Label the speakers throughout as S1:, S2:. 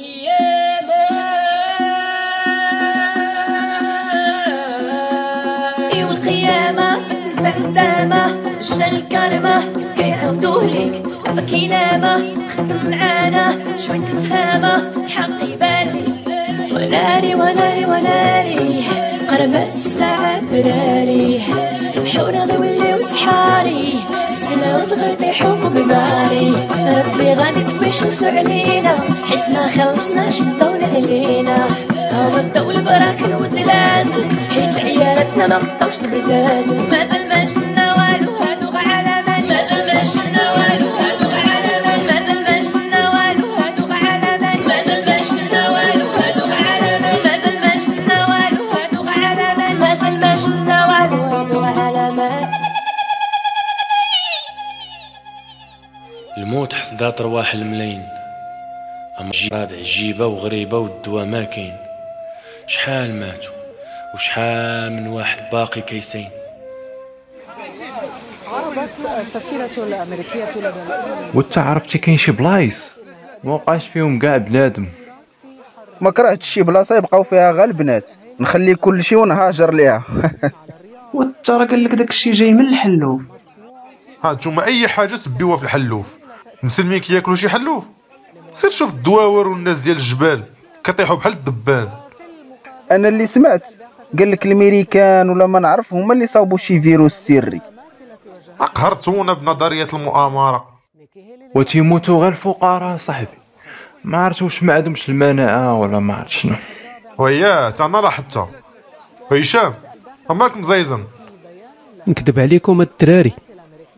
S1: قياما
S2: يوم القيامة فندامة شنا الكرمة كيعاودوه ليك عفاك يلامة خدم معانا شوي تفهمة الحق يبالي وناري وناري وناري قرب الساعة تراري بحورة نوليو صحاري السنة وتغطي حبوب ناري ربي غادي تفشخصو علينا حيت ما خلصنا شدونا علينا هما الضو البراكن وزلازل حيت عيالاتنا ما غطاوش البزازل مازال ما شفنا والو هادو غا علامات مازال ما شفنا والو هادو غا علامات مازال ما شفنا والو هادو غا علامات مازال ما شفنا والو هادو غا علامات مازال ما شفنا والو هادو غا علامات مازال ما شفنا والو هادو غا علامات
S3: الموت حصدات رواح الملايين أما جراد عجيبة وغريبة والدوا ما كاين شحال ماتوا وشحال من واحد باقي كيسين
S4: عرضت السفيرة الأمريكية لبلاد
S5: وانت عرفتي كاين شي بلايص ما بقاش فيهم كاع بنادم
S6: ما كرهتش شي بلاصه يبقاو فيها غير البنات نخلي كل شيء ونهاجر ليها
S7: وانت راه قال لك داكشي جاي من الحلوف
S8: ها نتوما اي حاجه سبيوها في الحلوف مسلمين كياكلوا شي حلوف سير شوف الدواور والناس ديال الجبال كطيحوا بحال الدبان
S6: انا اللي سمعت قال لك الميريكان ولا ما نعرف هما اللي صاوبوا شي فيروس سري
S8: اقهرتونا بنظريه المؤامره
S5: وتيموتوا غير الفقراء صاحبي ما عرفت واش ما عندهمش المناعه ولا ما عرفت شنو
S8: ويا تا انا لاحظتها هشام اماك مزيزن
S9: نكذب عليكم الدراري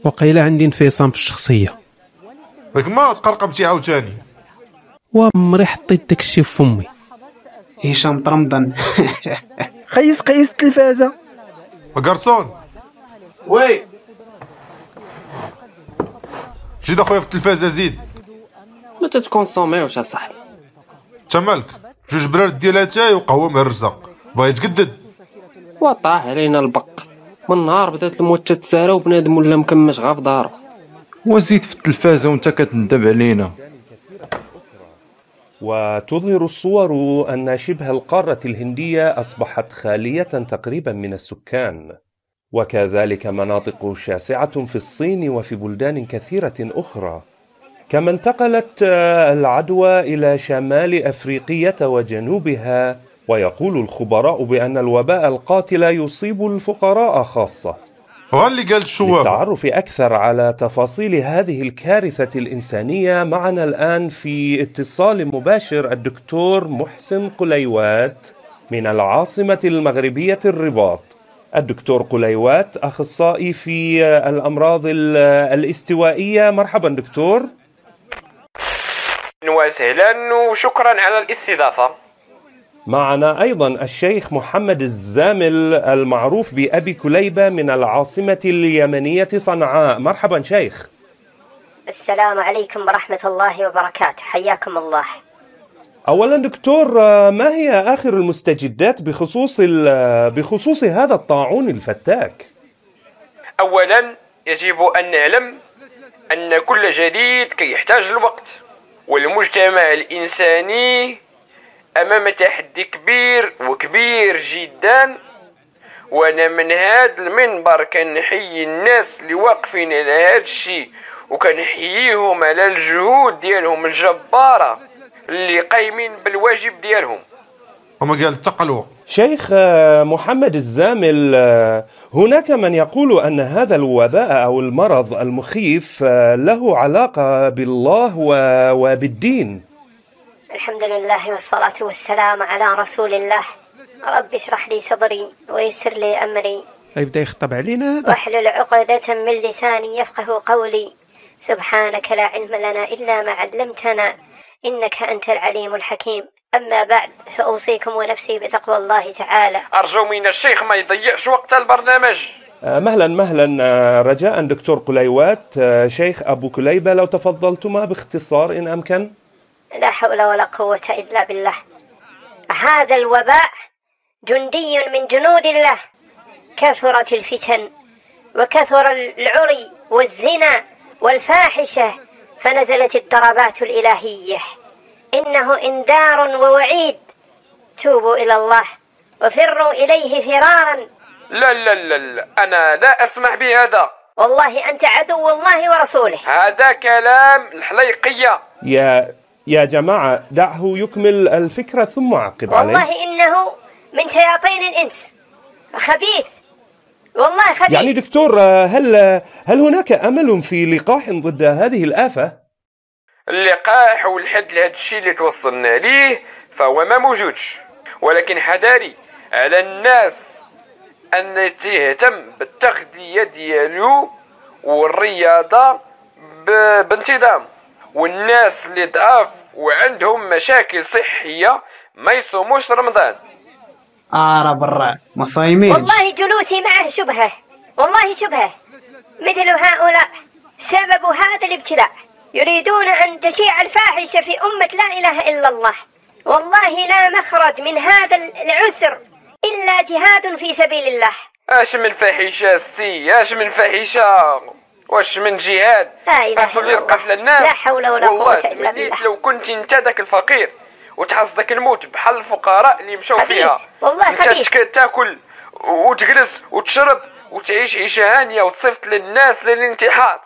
S9: وقيلا عندي انفصام في الشخصيه
S8: لك ما تقرقبتي عاوتاني
S9: وعمري حطيت داكشي في فمي
S7: هشام طرمضان
S6: قيس قيس التلفازه
S8: قرصون
S7: وي
S8: جيد اخويا في التلفازه زيد
S7: ما تتكونسوميوش اصاحبي
S8: تا مالك جوج برارد ديال اتاي وقهوه مهرسه باغي يتجدد
S7: وطاح علينا البق من نهار بدات الموت تتسارى وبنادم ولا مكمش غا في دارو
S5: وزيد في التلفازه وانت كتندب علينا
S10: وتظهر الصور أن شبه القارة الهندية أصبحت خالية تقريبا من السكان وكذلك مناطق شاسعة في الصين وفي بلدان كثيرة أخرى كما انتقلت آه، العدوى إلى شمال أفريقية وجنوبها ويقول الخبراء بأن الوباء القاتل يصيب الفقراء خاصة
S8: وها اللي قال الشوافه
S10: للتعرف أكثر على تفاصيل هذه الكارثة الإنسانية معنا الآن في اتصال مباشر الدكتور محسن قليوات من العاصمة المغربية الرباط الدكتور قليوات أخصائي في الأمراض ال- الاستوائية مرحبا دكتور
S7: وسهلا وشكرا على الاستضافه
S10: معنا أيضا الشيخ محمد الزامل المعروف بأبي كليبة من العاصمة اليمنية صنعاء مرحبا شيخ
S11: السلام عليكم ورحمة الله وبركاته حياكم الله
S10: اولا دكتور آه، ما هي اخر المستجدات بخصوص ال- آه، بخصوص هذا الطاعون الفتاك
S7: اولا يجب ان نعلم ان كل جديد كيحتاج الوقت والمجتمع الانساني امام تحدي كبير وكبير جدا وانا من هذا المنبر كنحيي الناس اللي واقفين على هذا الشيء وكنحييهم على الجهود ديالهم الجباره اللي قايمين بالواجب ديالهم
S8: وما قال التقلوه
S10: شيخ آه، محمد الزامل آه، هناك من يقول ان هذا الوباء او المرض المخيف آه، له علاقه بالله و- وبالدين
S11: الحمد لله والصلاة والسلام على رسول الله رب اشرح لي صدري ويسر لي أمري
S9: غيبدا يخطب علينا هذا
S11: واحلل عقدة من لساني يفقه قولي سبحانك لا علم لنا إلا ما علمتنا إنك أنت العليم الحكيم أما بعد فأوصيكم ونفسي بتقوى الله تعالى
S7: ارجو من الشيخ ما يضيعش وقت البرنامج
S10: آه، مهلا مهلا آه، رجاء دكتور قليوات آه، شيخ ابو كليبه لو تفضلتما باختصار ان امكن
S11: لا حول ولا قوة إلا بالله هذا الوباء جندي من جنود الله كثرت الفتن وكثر العري والزنا والفاحشة فنزلت الضربات الإلهية
S10: إنه إنذار ووعيد توبوا إلى الله وفروا إليه فرارا
S7: لا لا لا لا أنا لا أسمح بهذا
S10: والله أنت عدو الله ورسوله
S7: هذا كلام الحليقية
S5: يا يا جماعة دعه يكمل الفكرة ثم عقب عليه
S10: والله إنه من شياطين الإنس خبيث والله خبيث
S5: يعني دكتور آه، هل هل هناك أمل في لقاح ضد هذه الآفة؟
S7: اللقاح والحد لهذا الشيء اللي توصلنا ليه فهو ما موجودش ولكن حذاري على الناس أن تهتم بالتغذية ديالو والرياضة ب- بانتظام والناس اللي ضعاف وعندهم مشاكل صحية ما يصوموش رمضان
S12: ارى برا ما صايمين
S10: والله جلوسي معه شبهة والله شبهة مثل هؤلاء سبب هذا الابتلاء يريدون أن تشيع الفاحشة في أمة لا إله إلا الله والله لا مخرج من هذا العسر إلا جهاد في سبيل الله
S7: اش من فاحشة ستي اش من فاحشة واش من جهاد
S10: لا إله
S7: أفضل قتل الناس
S10: لا حول ولا قوة
S7: والله
S10: إلا
S7: تمنيت
S10: بالله.
S7: لو كنت انت ذاك الفقير وتحصدك الموت بحال الفقراء اللي مشاو
S10: خبيث.
S7: فيها
S10: والله
S7: انت
S10: خبيث.
S7: تك- تاكل وتجلس وتشرب وتعيش عيشة هانية وتصيفط للناس للانتحار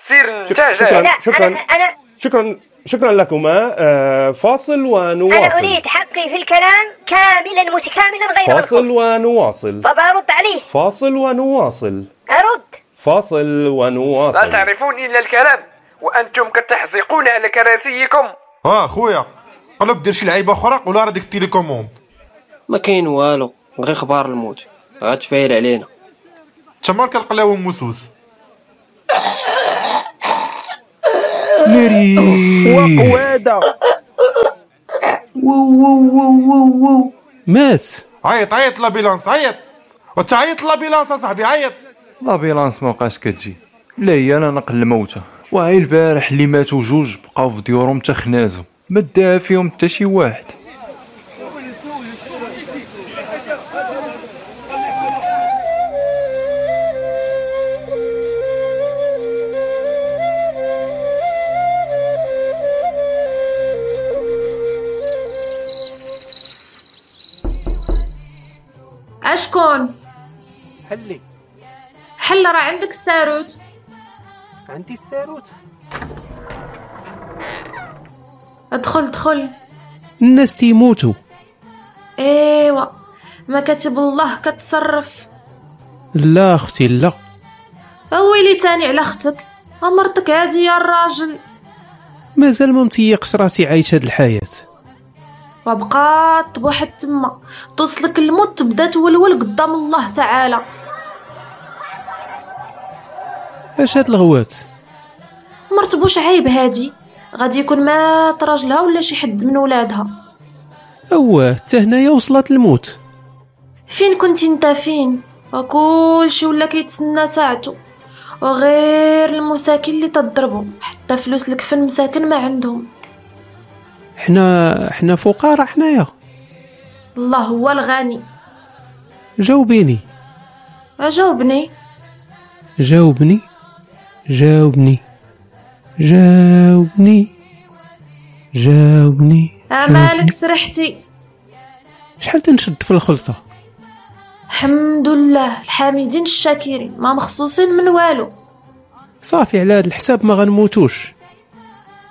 S7: سير انت
S5: شك- شكرا
S7: جاي
S5: شكرا
S10: أنا
S5: شكرا شكرا لكما آه، فاصل
S10: أنا
S5: ونواصل
S10: أريد حقي في الكلام كاملا متكاملا غير
S5: فاصل ونواصل
S10: طب أرد عليه
S5: فاصل ونواصل
S10: أرد
S5: فاصل
S7: لا
S5: ونواصل
S7: تعرفون إلا الكلام وأنتم كتحزقون على كراسيكم
S13: اه خويا قلب دير شي لعيبه اخرى ولا راه ديك التيليكوموند
S6: ما كاين والو غير خبار الموت غتفايل علينا
S13: تما كالقلاوه موسوس
S14: وقواده
S9: مات
S13: عيط عيط لابيلانس عيط وانت عيط لابيلانس اصاحبي عيط
S15: لابيلانس ما بقاش كتجي لا هي انا نقل الموتى وهاي البارح اللي ماتوا جوج بقاو في ديورهم تا خنازو ما داها فيهم حتى شي واحد
S2: اشكون
S9: حلي
S2: حلا راه عندك الساروت
S9: عندي الساروت
S2: ادخل دخل
S9: الناس تيموتوا
S2: ايوا ما كتب الله كتصرف
S9: لا اختي لا
S2: ويلي تاني على اختك مرتك هادي يا الراجل
S9: مازال ما متيقش راسي عايش هاد الحياه
S2: وبقات بواحد تما توصلك الموت تبدا تولول قدام الله تعالى
S9: اش هاد الغوات
S2: مرت بوش عيب هادي غادي يكون مات راجلها ولا شي حد من ولادها
S9: اواه حتى هنايا وصلت الموت
S2: فين كنتي انت فين وكلشي ولا كيتسنى ساعته وغير المساكين اللي تضربوا حتى فلوس الكفن مساكن ما عندهم
S9: حنا حنا فقراء حنايا
S2: الله هو الغني
S9: جاوبيني
S2: اجاوبني
S9: جاوبني جاوبني جاوبني جاوبني
S2: امالك سرحتي
S9: شحال تنشد في الخلصة
S2: الحمد لله الحامدين الشاكرين ما مخصوصين من والو
S9: صافي على هاد الحساب ما غنموتوش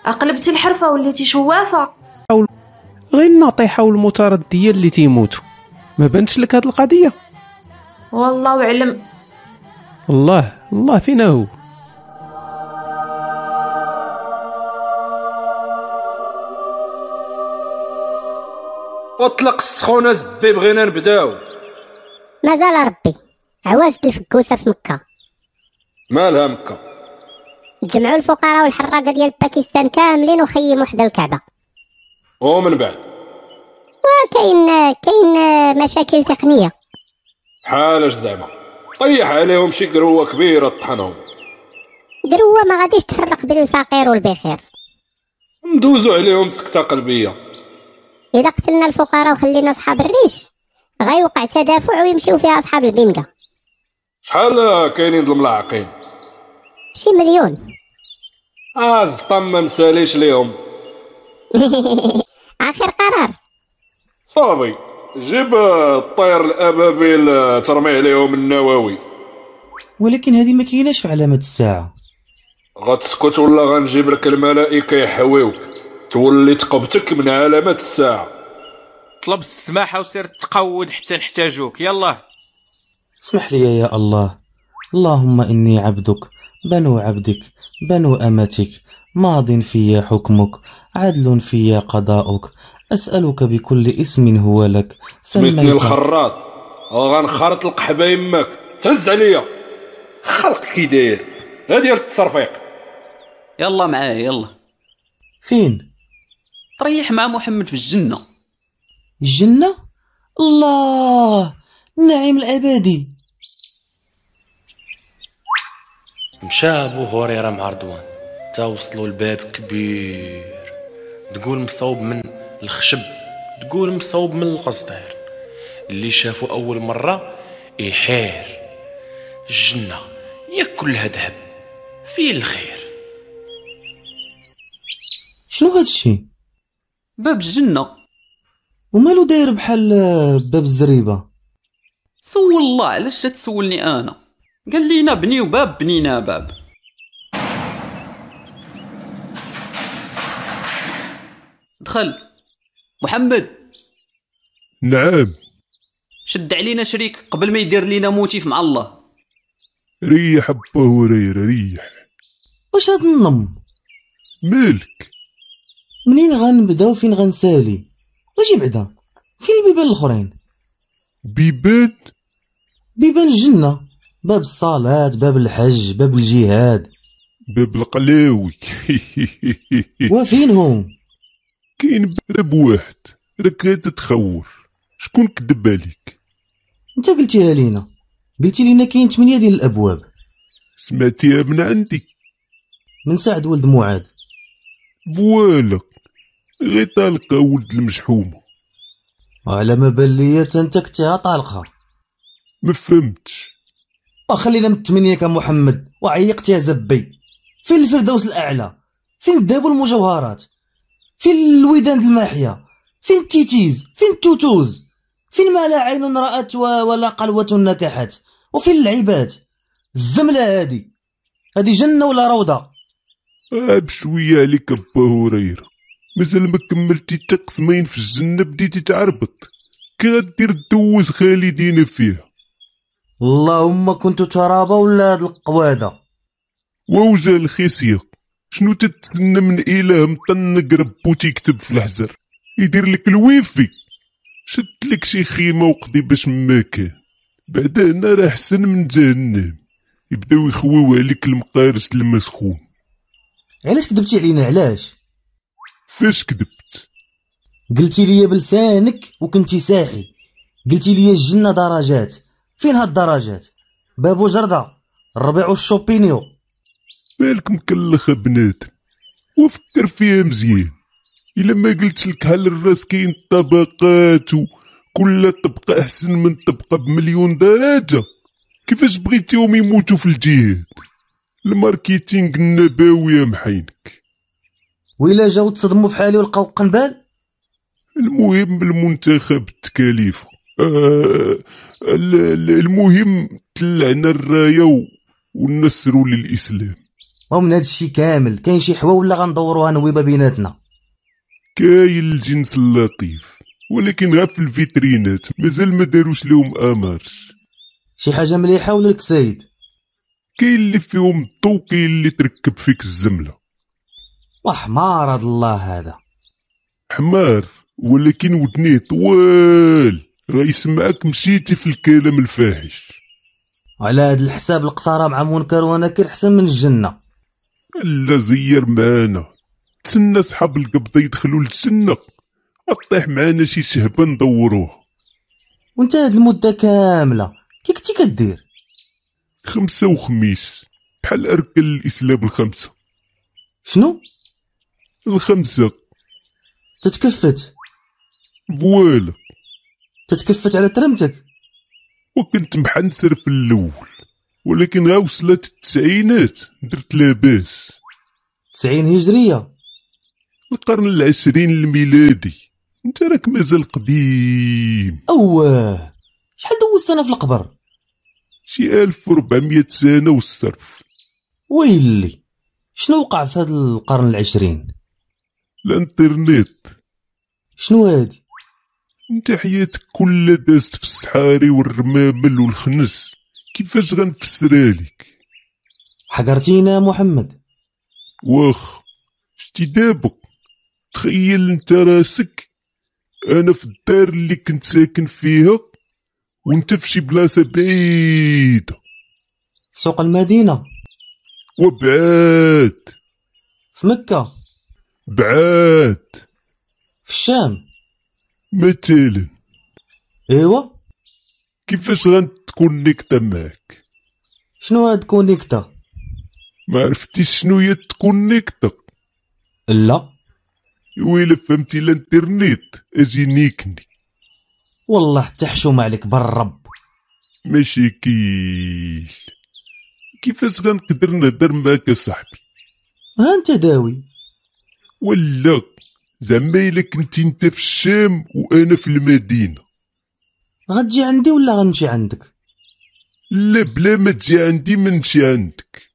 S2: اقلبتي الحرفه وليتي شوافه
S9: غير الناطحة والمتردية اللي تيموتوا ما بانتش لك هاد القضية
S2: والله اعلم
S9: الله الله فينا هو
S8: اطلق السخونه زبي بغينا نبداو
S16: مازال ربي عواجد الفكوسه في مكه
S8: مالها مكه
S16: تجمعوا الفقراء والحراقه ديال باكستان كاملين وخيموا حدا الكعبه
S8: ومن بعد
S16: وكاين كاين مشاكل تقنيه
S8: حالاش زعما طيح عليهم شي قروه كبيره طحنهم
S16: دروه ما غاديش تفرق بين الفقير والبخير
S8: ندوزو عليهم سكته قلبيه
S16: الا قتلنا الفقراء وخلينا اصحاب الريش غيوقع تدافع ويمشيو فيها اصحاب البنكه
S8: شحال كاينين الملاعقين
S16: شي مليون
S8: الزطام ما مساليش ليهم
S17: صافي جيب آه، الطير الابابيل آه، ترمي عليهم النواوي
S9: ولكن هذه ما كايناش في علامه الساعه
S17: غتسكت ولا غنجيب لك الملائكه يحويوك تولي تقبتك من علامات الساعه
S18: طلب السماحة وسير تقود حتى نحتاجوك يلا
S9: اسمح لي يا الله اللهم إني عبدك بنو عبدك بنو أمتك ماض في حكمك عدل في قضاؤك أسألك بكل اسم هو لك
S17: سميتني الخراط غنخرط القحبه يماك تهز عليا خلق كي داير ها ديال التصرفيق
S6: يلا معايا يلا
S9: فين
S6: تريح مع محمد في الجنة
S9: الجنة الله النعيم الأبدي
S3: مشى بو هريرة مع رضوان تا وصلوا لباب كبير تقول مصوب من الخشب تقول مصوب من القصدير اللي شافو أول مرة يحير الجنة ياك كلها ذهب فيه الخير
S9: شنو هادشي
S6: باب الجنة
S9: ومالو داير بحال آه، باب الزريبة
S6: سول الله علاش تسولني أنا قال لينا بنيو باب بنينا باب دخل محمد
S8: نعم
S6: شد علينا شريك قبل ما يدير لينا موتيف مع الله
S8: ريح أبا هريرة ريح
S9: واش هاد النم
S8: مالك
S9: منين غنبدا وفين غنسالي واجي بعدا فين البيبان الاخرين
S8: بيبان
S9: بيبان الجنه باب الصلاه باب الحج باب الجهاد
S8: باب القلاوي
S9: وفين هم
S8: كاين باب واحد راك تتخور شكون كذب عليك
S9: انت قلتيها لينا قلتي لينا كاين 8 ديال الابواب
S8: سمعتيها من عندي
S9: من سعد ولد معاذ
S8: فوالا غير طالقه ولد المشحومه
S9: وعلى ما بان ليا تا انت كنتيها طالقه
S8: ما فهمتش
S9: وخلينا من الثمانيه كمحمد وعيقتيها زبي فين الفردوس الاعلى فين الذهب والمجوهرات فين الودان الماحيه فين التيتيز فين التوتوز فين ما لا عين رأت و- ولا قلوة نكحت وفين العباد الزملة هادي هادي جنة ولا روضة
S8: آه بشوية عليك أبا هريرة مازال ما كملتي تا قسمين في الجنة بديتي تعربط كي غدير دوز خالدين فيها
S9: اللهم كنت ترابا ولا هاد القوادة
S8: ووجه الخسية شنو تتسنى من إله مطنق ربو تيكتب في الحجر يدير لك الويفي شد لك شي خيمة وقضي باش ما كان بعد هنا راه حسن من جهنم يبداو يخويو عليك المقارس المسخون
S9: علاش كذبتي علينا علاش
S8: فاش كذبت
S9: قلتي لي بلسانك وكنتي ساحي قلتي لي الجنة درجات فين هاد الدرجات بابو جردة الربيع والشوبينيو
S8: مالك مكلخة بنات وفكر فيها مزيان إلا ما قلت لك هل الراس كاين طبقات وكل طبقة أحسن من طبقة بمليون درجة كيفاش بغيتيهم يموتوا في الجهاد الماركتينغ النبوي يا محينك
S9: وإلا جاو تصدموا في حالي ولقاو قنبال
S8: المهم المنتخب التكاليفة آه ال- ال- المهم تلعنا الراية و- ونسروا للإسلام
S9: ومن هاد الشي كامل كاين شي حوا ولا غندوروها نويبه بيناتنا
S8: كاين الجنس اللطيف ولكن غير في الفيترينات مازال ما داروش لهم امارش
S9: شي حاجه مليحه ولا الكسايد
S8: كاين اللي فيهم الضو كاين اللي تركب فيك الزمله
S9: وحمار هاد الله هذا
S8: حمار ولكن ودنيه طوال غيسمعك مشيتي في الكلام الفاحش
S9: على هاد الحساب القصاره مع منكر ونكر حسن من الجنه
S8: لا زير معانا تسنى صحاب القبضه يدخلوا للجنه اطيح معانا شي شهبه ندوروها
S9: وانت هاد المده كامله كي كنتي كدير
S8: خمسه وخميس بحال اركان الاسلام الخمسه
S9: شنو
S8: الخمسه
S9: تتكفت
S8: فوالا
S9: تتكفت على ترمتك
S8: وكنت محنسر في الاول ولكن غا وصلت التسعينات درت لاباس
S9: 90 هجريه
S8: القرن العشرين الميلادي انت راك مازال قديم
S19: اوه شحال دوزت انا في القبر
S8: شي 1400 سنه والصرف
S19: ويلي شنو وقع في هذا القرن العشرين
S8: الانترنت
S19: شنو هادي
S8: انت حياتك كلها دازت في الصحاري والرمامل والخنس كيفاش غنفسرها لك
S19: حقرتينا محمد
S8: واخ شتي دابا تخيل انت راسك انا في الدار اللي كنت ساكن فيها وانت في شي بلاصه بعيده
S19: سوق المدينه
S8: وبعاد
S19: في مكه
S8: بعاد
S19: في الشام
S8: مثلا
S19: ايوا
S8: كيفاش غنتكونيكتا معاك
S19: شنو هاد كونيكتا
S8: ما عرفتيش شنو هي تكونيكتا
S19: لا
S8: ويلا فهمتي الانترنت اجي نيكني
S19: والله حتى حشومه عليك بالرب
S8: ماشي كيل كيفاش غنقدر نهضر معاك يا صاحبي
S19: ها انت داوي
S8: ولا زعما الا كنتي انت في الشام وانا في المدينه
S19: غتجي عندي ولا غنمشي عندك
S8: لا بلا ما تجي عندي ما نمشي عندك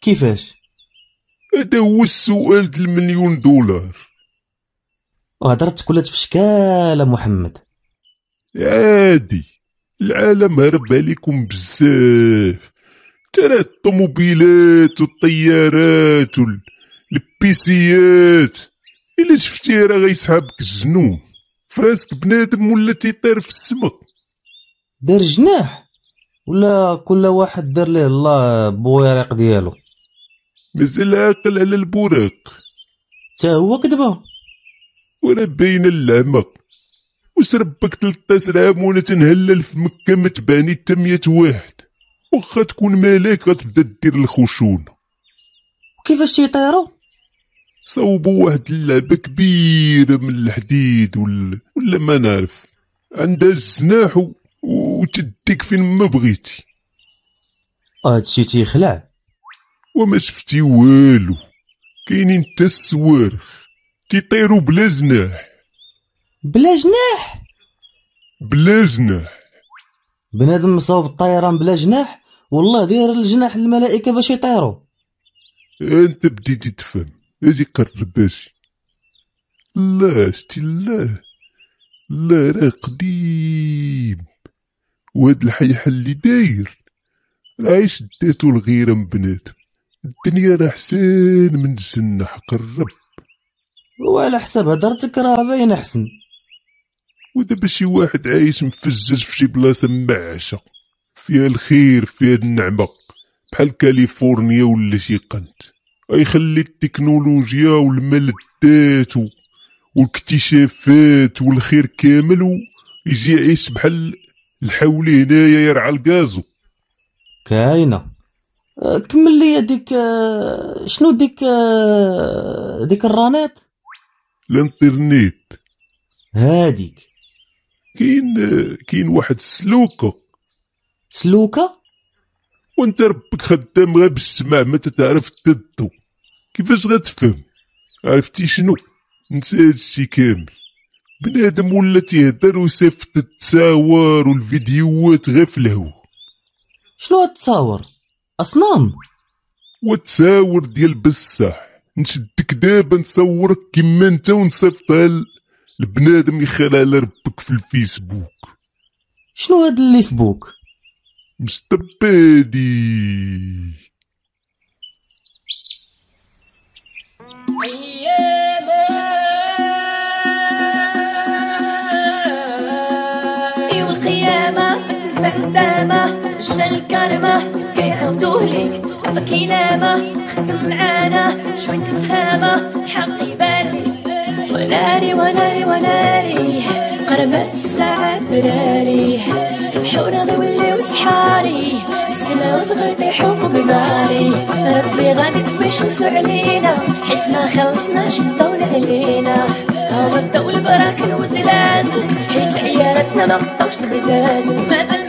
S19: كيفاش
S8: هذا هو السؤال د المليون دولار
S19: هضرت كلت في شكال محمد
S8: عادي العالم هرب عليكم بزاف ترى الطوموبيلات والطيارات وال- البيسيات الا شفتي راه غيسحبك الجنون فراسك بنادم ولا تيطير في السما
S19: دار جناح ولا كل واحد دار ليه الله بويريق ديالو
S8: مازال عاقل على البراق
S19: تا هو كدبه
S8: وانا باين اللعمة واش ربك تلطاس العام وانا تنهلل في مكة ما تباني حتى مية واحد واخا تكون ملاك غتبدا دير الخشونة
S19: كيفاش تيطيروا
S8: صوبوا واحد اللعبة كبيرة من الحديد ولا ولا ما نعرف عندها الجناح و- وتديك فين ما بغيتي
S19: هادشي تيخلع
S8: وما شفتي والو كاينين حتى السوارخ تيطيروا بلا جناح
S19: بلا جناح
S8: بلا جناح
S19: بنادم مصاوب الطيران بلا جناح والله داير الجناح للملائكه باش يطيروا
S8: انت بديتي تفهم اجي قرب اجي لا شتي لا لا راه قديم وهاد الحيحة اللي داير راه عايش داتو الغيرة من بنادم الدنيا راه حسن من الجنة حق الرب
S19: وعلى حسب هضرتك راه باين احسن
S8: ودابا شي واحد عايش مفجج في شي بلاصة معشة فيها الخير فيها النعمة بحال كاليفورنيا ولا شي قنت غيخلي التكنولوجيا والمال الذات و- والاكتشافات والخير كامل ويجي يعيش بحال الحولي هنايا يرعى الكازو
S19: كاينه آه، كمل لي ديك آه، شنو ديك آه، ديك الرانات
S8: الانترنت
S19: هاديك
S8: كاين كاين واحد السلوكه
S19: سلوكه
S8: وانت ربك خدام غير بالسمع ما تتعرف تدو كيفاش غتفهم عرفتي شنو نسى هادشي كامل بنادم ولا تيهدر ويصيفط التصاور والفيديوهات غير في الهوا
S19: شنو هتصاور اصنام
S8: والتصاور ديال بصح نشدك دابا نصورك كيما انت ونصيفطها ل- لبنادم يخلع على ربك في الفيسبوك
S19: شنو هاد اللي في بوك
S8: مستبادي
S2: يوم القيامة الفندامة جنى الكرمة كيعاودوه ليك عفاك يلامة خدم معانا شوية الفهامة حقي بالي وناري وناري وناري قربت الساعة تراري بحورة غيولي وسحاري السماوات غادي يحوكوا بداري ربي غادي تفشمسو علينا حيت ما خلصناش الضو علينا هو الضو البراكن وزلازل حيت عيالاتنا ما غطاوش البزازل مازال